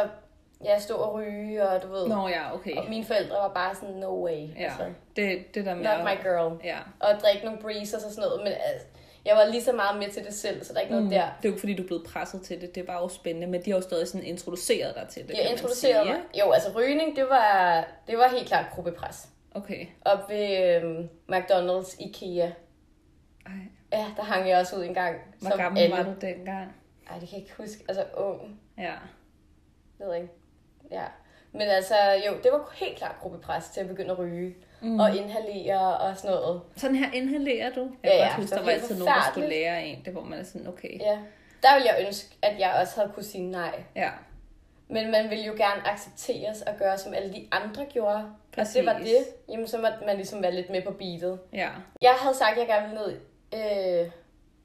ja, stå og ryge, og du ved...
Nå ja, okay.
Og mine forældre var bare sådan, no way.
Ja,
Altså,
det, det der med...
Not my girl.
Ja.
Og drikke nogle breezers og sådan noget. Men altså, jeg var lige så meget med til det selv, så der er ikke noget mm.
Det
der.
er jo ikke fordi, du er blevet presset til det. Det var jo spændende, men de har jo stadig sådan introduceret dig til det,
Jeg
kan
introducerede mig.
man sige. ikke?
Jo, altså rygning, det var, det var helt klart gruppepres.
Okay.
Op ved øhm, McDonald's, Ikea.
Ej,
Ja, der hang jeg også ud en gang.
hvor gammel
alle.
var du dengang?
Ej, det kan jeg ikke huske. Altså ung,
Ja.
ved jeg ikke. Ja. Men altså, jo, det var helt klart gruppepres til at begynde at ryge. Mm. Og inhalere og sådan noget.
Sådan her inhalerer du? Jeg
Ja,
kan
ja,
godt huske,
så
der var
helt
altid nogen, der skulle
forfærdeligt.
lære en. Det hvor man er sådan, okay.
Ja. Der ville jeg ønske, at jeg også havde kunne sige nej.
Ja.
Men man ville jo gerne accepteres og gøre, som alle de andre gjorde.
Præcis.
Præcis. Og det var det. Jamen, så måtte man ligesom være lidt med på beatet.
Ja.
Jeg havde sagt, at jeg gerne ville ned øh,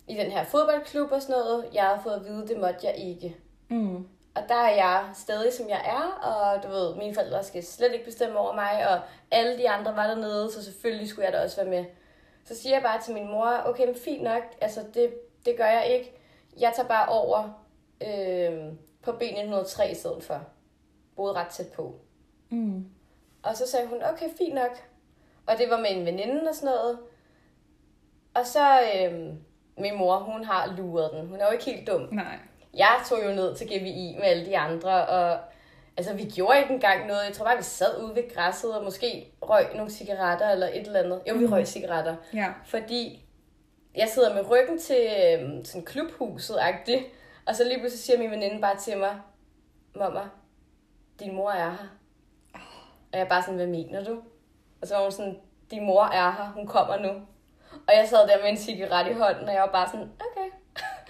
i den her fodboldklub og sådan noget. Jeg havde fået at vide, at det måtte jeg ikke.
Mm.
Og der er jeg stadig, som jeg er, og du ved, mine forældre skal slet ikke bestemme over mig, og alle de andre var dernede, så selvfølgelig skulle jeg da også være med. Så siger jeg bare til min mor, okay, men fint nok, altså det, det gør jeg ikke. Jeg tager bare over oh øh, på B1903 i stedet for. Boede ret tæt på.
Mm.
Og så sagde hun, okay, fint nok. Og det var med en veninde og sådan noget. Og så øhm, min mor, hun har luret den. Hun er jo ikke helt dum.
Nej.
Jeg tog jo ned til GVI med alle de andre, og altså, vi gjorde ikke engang noget. Jeg tror bare, vi sad ude ved græsset og måske røg nogle cigaretter eller et eller andet. Jo, vi røg cigaretter.
Ja.
Fordi jeg sidder med ryggen til øhm, sådan klubhuset agtigt og så lige pludselig siger min veninde bare til mig, mamma, din mor er her. Og jeg er bare sådan, hvad mener du? Og så var hun sådan, din mor er her, hun kommer nu. Og jeg sad der med en cigaret i hånden, og jeg var bare sådan, okay.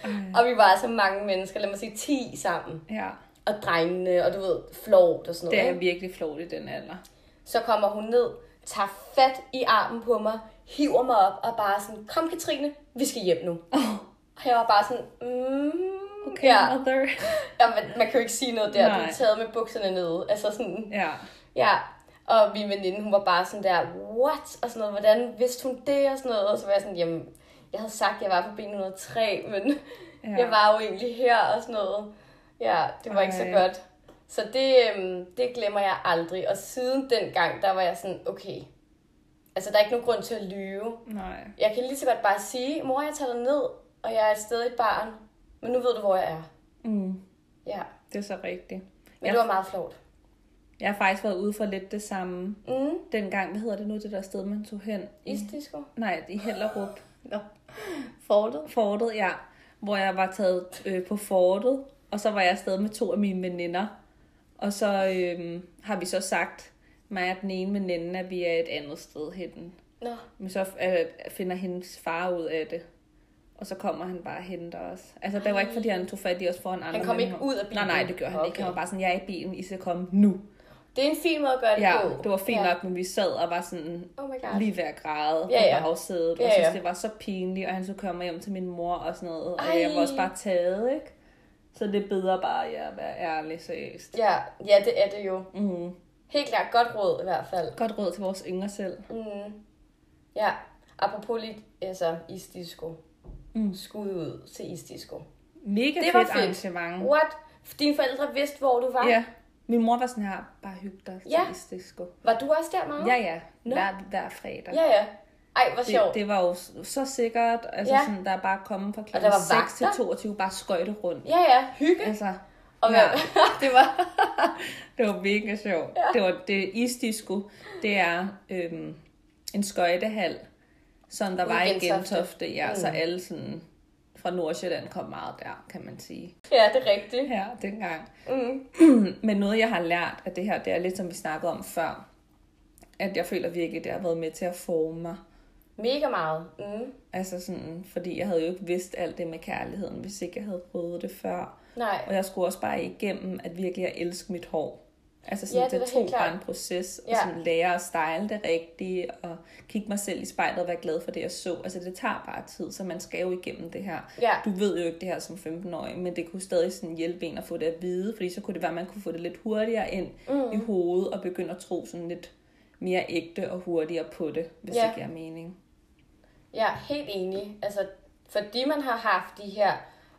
Mm.
og vi var altså mange mennesker, lad mig sige 10 sammen.
Ja.
Og drengene, og du ved, flot og sådan
Det
noget.
er
ikke?
virkelig flot i den alder.
Så kommer hun ned, tager fat i armen på mig, hiver mig op og bare sådan, kom Katrine, vi skal hjem nu. Og jeg var bare sådan, mm,
Okay,
ja.
mother.
ja man, man kan jo ikke sige noget der, du
Nej.
er taget med bukserne nede. Altså sådan,
Ja.
ja. Og min veninde, hun var bare sådan der, what? Og sådan noget, hvordan vidste hun det? Og sådan noget, og så var jeg sådan, jamen, jeg havde sagt, at jeg var på B103, men
Ja.
ja. jeg var jo egentlig her og sådan noget. Ja, det var ikke så
Ej.
godt. Så det, øhm, det glemmer jeg aldrig. Og siden dengang, der var jeg sådan, okay, altså der er ikke nogen grund til at lyve.
Nej.
Jeg kan lige så godt bare sige, mor, jeg tager dig ned, og jeg er et sted et barn, men nu ved du, hvor jeg er.
Mm.
Ja,
Det er så rigtigt.
men det var meget flot.
Jeg har faktisk været ude for lidt det samme.
Mm.
Dengang, hvad hedder det nu, det der sted, man tog hen? I,
Isdisco.
nej, i Hellerup.
Nå. Fortet.
Fortet, ja. Hvor jeg var taget øh, på fortet, og så var jeg afsted med to af mine veninder. Og så øh, har vi så sagt, mig og den ene veninde, at vi er et andet sted henne.
Nå.
Men så øh, finder hendes far ud af det. Og så kommer han bare og henter os. Altså, det var ikke, fordi han tog fat i os foran andre.
kom ikke
mennesker.
ud af bilen?
Nej, nej, det gjorde han okay. ikke. Han
Okay.
var bare sådan, jeg er i bilen, I skal komme nu.
Det er en fin måde at gøre det
Ja,
på.
det var fint
ja.
nok, men vi sad og var sådan
Oh my god.
lige ved at græde
Ja, ja.
på bagsædet.
Ja,
Og synes,
ja.
det var så pinligt, og han skulle komme hjem til min mor og sådan noget. Og
Ej.
jeg var også bare taget, ikke? Så det er bedre bare ja, at være ærlig, seriøst.
Ja, ja, det er det jo.
Mm.
Helt klart godt råd i hvert fald.
Godt råd til vores yngre selv.
Mm. Ja, apropos lige altså, isdisco.
Mm.
Skud ud til isdisco.
Mega
Det
fedt,
var
fedt
fedt.
arrangement.
What? Dine forældre vidste, hvor du var?
Mm. Ja. Min mor var sådan her, bare hyg dig
Ja.
til Isdisco.
Var du også der, meget?
Ja, ja.
Nå.
Hver, hver fredag.
Ja, ja. Ej, hvor sjovt.
Det, det var jo s- så sikkert. Altså,
Ja.
sådan, der er bare kommet fra kl.
Og der var
6 til
vagter.
22, bare skøjte rundt.
Ja, ja. Hygge.
Altså,
Og
ja.
ja. det var...
Det var mega sjovt. Ja. Det var det isdisco. Det er øhm, en skøjtehal, som der
Ude i
var i
Gentofte.
Gentofte. Ja, mm. så alle sådan fra Nordsjælland kom meget der, kan man sige.
ja, det er rigtigt.
Ja, dengang.
Mm.
Men noget, jeg har lært af det her, det er lidt som vi snakkede om før, at jeg føler virkelig, det har været med til at forme mig.
Mega meget. Mm.
Altså sådan, fordi jeg havde jo ikke vidst alt det med kærligheden, hvis ikke jeg havde prøvet det før.
Nej.
Og jeg skulle også bare igennem, at virkelig at elske mit hår. Altså sådan,
Ja,
ja,
det
det,
er
det
da helt
tog bare
klart.
en proces, og
Ja.
sådan lære at style det rigtige, og kigge mig selv i spejlet og være glad for det, jeg så. Altså det tager bare tid, så man skal jo igennem det her.
Ja.
Du ved jo ikke det her som 15-årig, men det kunne stadig sådan hjælpe en at få det at vide, fordi så kunne det være, at man kunne få det lidt hurtigere ind mm. i hovedet, og begynde at tro sådan lidt mere ægte og hurtigere på det, hvis
Ja.
det giver mening.
Jeg er helt enig. Altså, fordi man har haft de her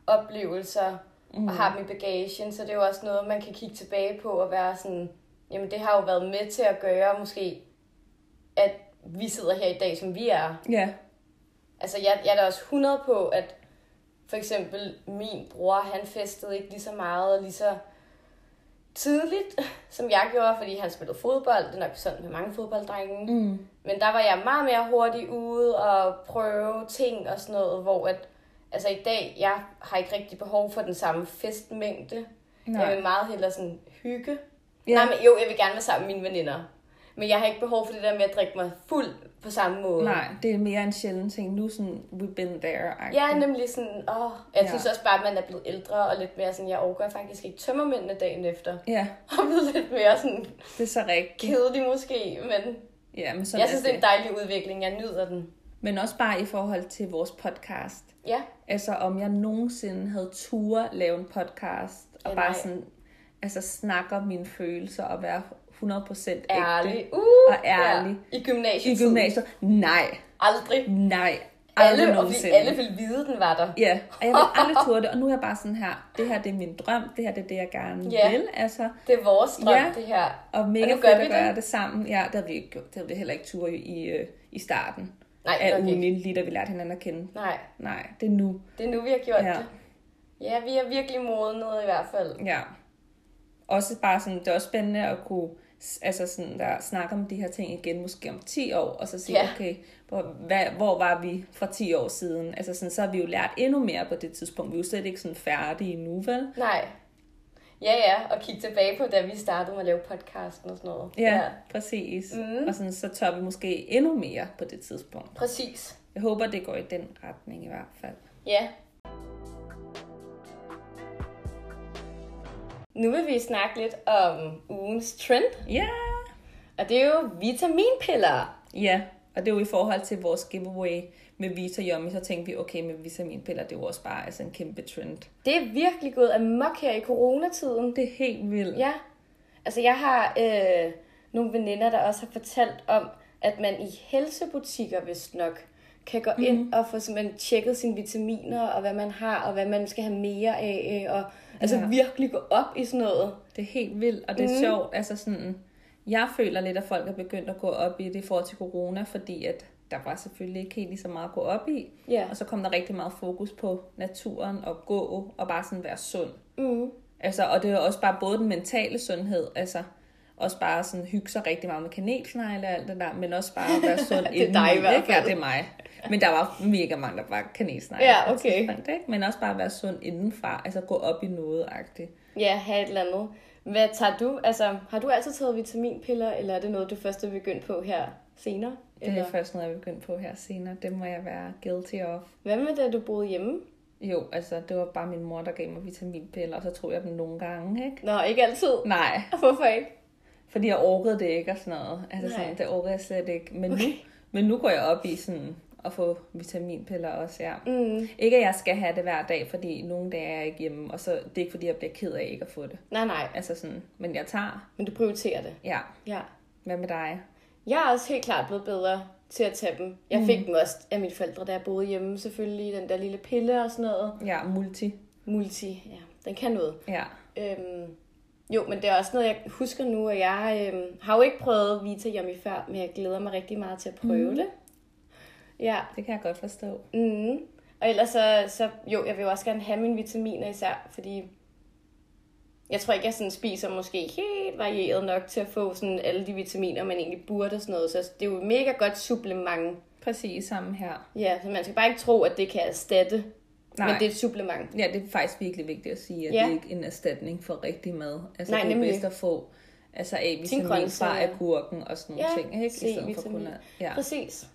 oplevelser mm. og har dem i bagagen, så det er jo også noget, man kan kigge tilbage på og være sådan, jamen det har jo været med til at gøre måske, at vi sidder her i dag, som vi er.
Ja,
Altså, jeg, jeg er da også 100 på, at for eksempel min bror, han festede ikke lige så meget og lige så tidligt, som jeg gjorde, fordi han spillede fodbold. Det er nok sådan med mange fodbolddrenge. Mm. Men der var jeg meget mere hurtig ude og prøve ting og sådan noget, hvor at, altså i dag, jeg har ikke rigtig behov for den samme festmængde. Nej.
Nej.
Jeg vil meget hellere sådan hygge.
Ja.
Ja. Øhm, Nej, men jo, jeg vil gerne være sammen med mine veninder. Men jeg har ikke behov for det der med at drikke mig fuld på samme måde.
nej, det er mere en sjælden ting. Nu sådan, we've been there.
Ja, nemlig sådan, åh, jeg
Ja.
ja. synes også bare, at man er blevet ældre og lidt mere sådan, jeg overgår faktisk ikke tømmermændene dagen efter.
ja,
Og blevet lidt mere sådan
det er så rigtigt.
kedelig måske, men
Ja, men sådan
jeg
er
synes, det er en dejlig udvikling, jeg nyder den.
Men også bare i forhold til vores podcast.
Ja,
Altså om jeg nogensinde havde tur lave en podcast og
Ja,
bare
nej.
sådan altså snakke om mine følelser og være 100% ægte
ærlig. Uh,
og ærlig.
Ja. I gymnasiet.
I gymnasiet. Nej,
Aldrig.
nej. Aldrig
alle, og vi
nogensinde.
alle ville vide, den var der.
Ja, og jeg vil aldrig turde det, og nu er jeg bare sådan her, det her det er min drøm, det her det er det, jeg gerne
Ja.
vil, altså.
Det er vores drøm,
Ja.
ja. det her.
Og mega
nu
og
gør
fedt
vi
at
det.
gøre det. sammen. Ja, det havde vi, ikke gjort. det havde vi heller ikke tur i, i, øh, i starten
Nej,
af
nok ikke.
ugen, lige da vi lærte hinanden at kende.
Nej,
Nej, det er nu.
det er nu, vi har gjort
Ja.
ja. det. Ja, vi er virkelig modnet i hvert fald.
Ja. Også bare sådan, det er også spændende at kunne s- altså sådan der, snakke om de her ting igen, måske om 10 år, og så sige,
Ja.
okay, hvor, hvad, hvor var vi for 10 år siden? Altså sådan, så har vi jo lært endnu mere på det tidspunkt. Vi er jo slet ikke sådan færdige nu, vel?
Nej. Ja, ja, og kigge tilbage på, da vi startede med at lave podcasten og sådan noget.
Ja, ja. præcis. Mm. Og sådan, så tør vi måske endnu mere på det tidspunkt.
Præcis.
Jeg håber, det går i den retning i hvert fald.
Ja. Nu vil vi snakke lidt om ugens trend,
Ja! Yeah.
og det er jo vitaminpiller.
Ja, og det er jo i forhold til vores giveaway med Vita Yummy, så tænkte vi, okay, med vitaminpiller, det er jo også bare altså, en kæmpe trend.
Det er virkelig gået amok her i coronatiden.
Det er helt vildt.
Ja. Altså, jeg har øh, nogle veninder, der også har fortalt om, at man i helsebutikker, vist nok, kan gå mm-hmm.
Mhm.
ind og få simpelthen tjekket sine vitaminer, og hvad man har, og hvad man skal have mere af, øh, og altså
Ja.
virkelig gå op i sådan noget.
Det er helt vildt, og det er mm. sjovt. Altså sådan, jeg føler lidt, at folk er begyndt at gå op i det i forhold til corona, fordi at der var selvfølgelig ikke helt lige så meget at gå op i.
Ja.
Og så kom der rigtig meget fokus på naturen og gå og bare sådan være sund. Mm. Altså, og det er jo også bare både den mentale sundhed, altså også bare sådan hygge sig rigtig meget med kanelsnegle og alt det der, men også bare at være
Det
sund
er dig i
indeni,
hvert
ikke?
fald.
Ja, det er mig. Men der var mega mange, der var kanelsnegle.
Ja,
på et
okay.
tidspunkt, ikke? Men også bare at være sund indenfra, altså gå op i noget-agtigt.
Ja, have et eller andet. Hvad tager du? Altså, har du altid taget vitaminpiller, eller er det noget, du først er begyndt på her senere?
Det
Eller?
er først noget, jeg er begyndt på her senere. Det må jeg være guilty of.
Hvad med da du boede hjemme?
Jo, altså, det var bare min mor, der gav mig vitaminpiller, og så tog jeg dem nogle gange, ikke?
Nå, ikke altid.
Nej,
Hvorfor ikke?
fordi jeg orkede det ikke og sådan noget. Altså,
Nej.
sådan, det orkede jeg slet ikke. Men, okay.
Okay.
nu, men nu går jeg op i sådan at få vitaminpiller også, ja. Mm. Ikke, at jeg skal have det hver dag, fordi nogle dage er jeg ikke hjemme, og så det er ikke, fordi jeg bliver ked af ikke at få det.
Nej, nej.
Altså sådan, men jeg tager,
Men du prioriterer det.
ja.
Ja.
Hvad med dig?
Jeg er også helt klart blevet bedre til at tage dem. Jeg fik mm. dem også af mine forældre, da jeg boede hjemme selvfølgelig. Den der lille pille og sådan noget.
Ja, multi.
Multi, ja. Den kan noget.
Ja.
Øhm, jo, men det er også noget, jeg husker nu, at jeg øhm, har jo ikke prøvet Vita Yummy før, men jeg glæder mig rigtig meget til at prøve mm. det. Ja,
Det kan jeg godt forstå.
Mm. Og ellers så, så, jo, jeg vil jo også gerne have mine vitaminer især, fordi jeg tror ikke, jeg sådan spiser måske helt varieret nok til at få sådan alle de vitaminer, man egentlig burde og sådan noget. Så det er jo et mega godt supplement.
Præcis samme her.
Ja, så man skal bare ikke tro, at det kan erstatte. Nej.
Nej.
Men det er et supplement.
Ja, det er faktisk virkelig vigtigt at sige, at ja.
Ja.
det er ikke en erstatning for rigtig mad. Altså,
Nej,
Nej, det er
nemlig.
bedst at få altså A-vitamin
grøntsager.
fra agurken og sådan nogle
Ja,
ting, ikke? I stedet for kun
C-vitamin.
at, ja,
Præcis.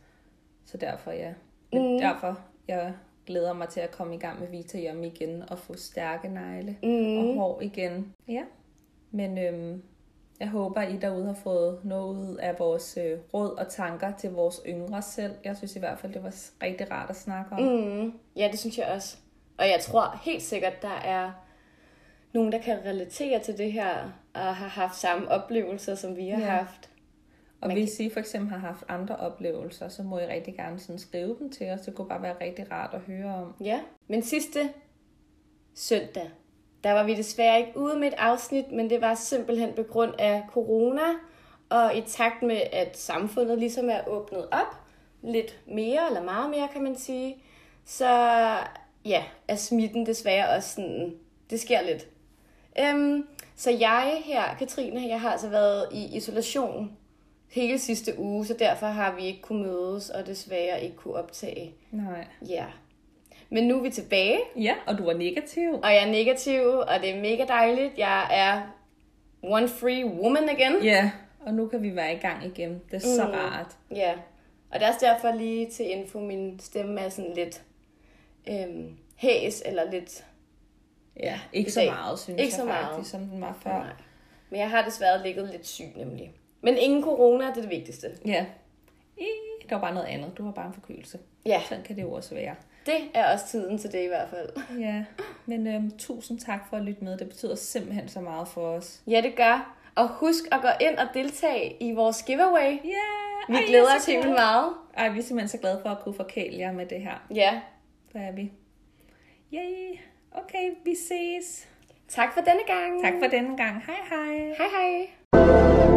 så derfor ja. Men mm. derfor, jeg glæder mig til at komme i gang med Vita Yum igen og få stærke negle mm. og hår igen. Ja, men øhm, jeg håber, I derude har fået noget ud af vores øh, råd og tanker til vores yngre selv. Jeg synes i hvert fald, det var s- rigtig rart at snakke om. Mm.
Ja, det synes jeg også. Og jeg tror helt sikkert, der er nogen, der kan relatere til det her, og har haft samme oplevelser, som vi har
Ja.
ja. haft.
Og
Man
hvis I for eksempel har haft andre oplevelser, så må I rigtig gerne sådan skrive dem til os. Det kunne bare være rigtig rart at høre om.
Ja, men sidste søndag, der var vi desværre ikke ude med et afsnit, men det var simpelthen på grund af corona, og i takt med, at samfundet ligesom er åbnet op lidt mere, eller meget mere, kan man sige, så ja, er smitten desværre også sådan, det sker lidt. Øhm, så jeg her, Katrine, jeg har altså været i isolation hele sidste uge, så derfor har vi ikke kunne mødes og desværre ikke kunne optage.
Nej.
Ja. Men nu er vi tilbage,
Ja, og du var negativ.
og jeg er negativ, og det er mega dejligt. Jeg er one free woman igen.
Ja, og nu kan vi være i gang igen. Det er
Mm.
så rart.
Ja. Og det er også derfor lige til info, min stemme er sådan lidt øhm, hæs, eller lidt...
Ja, ikke
I
så
dag.
meget, synes
Ikke
jeg
så meget.
faktisk, som den var før.
Nej. Men jeg har desværre ligget lidt syg nemlig. Men ingen corona, det er det vigtigste.
Ja. I, det var bare noget andet. Du var bare en forkølelse.
Ja,
Sådan kan det jo også være.
det er også tiden til det i hvert fald.
Ja, men øhm, tusind tak for at lytte med. Det betyder simpelthen så meget for os.
Ja, det gør. Og husk at gå ind og deltage i vores giveaway.
Ja, yeah,
Vi
Ej, jeg
glæder
er
os
så
helt
glad.
vildt meget.
Ej, vi er simpelthen så glade for at kunne forkæle jer med det her.
Ja.
Der er vi. Yay. Okay, vi ses.
Tak for denne gang.
Tak for denne gang. Hej hej.
Hej hej.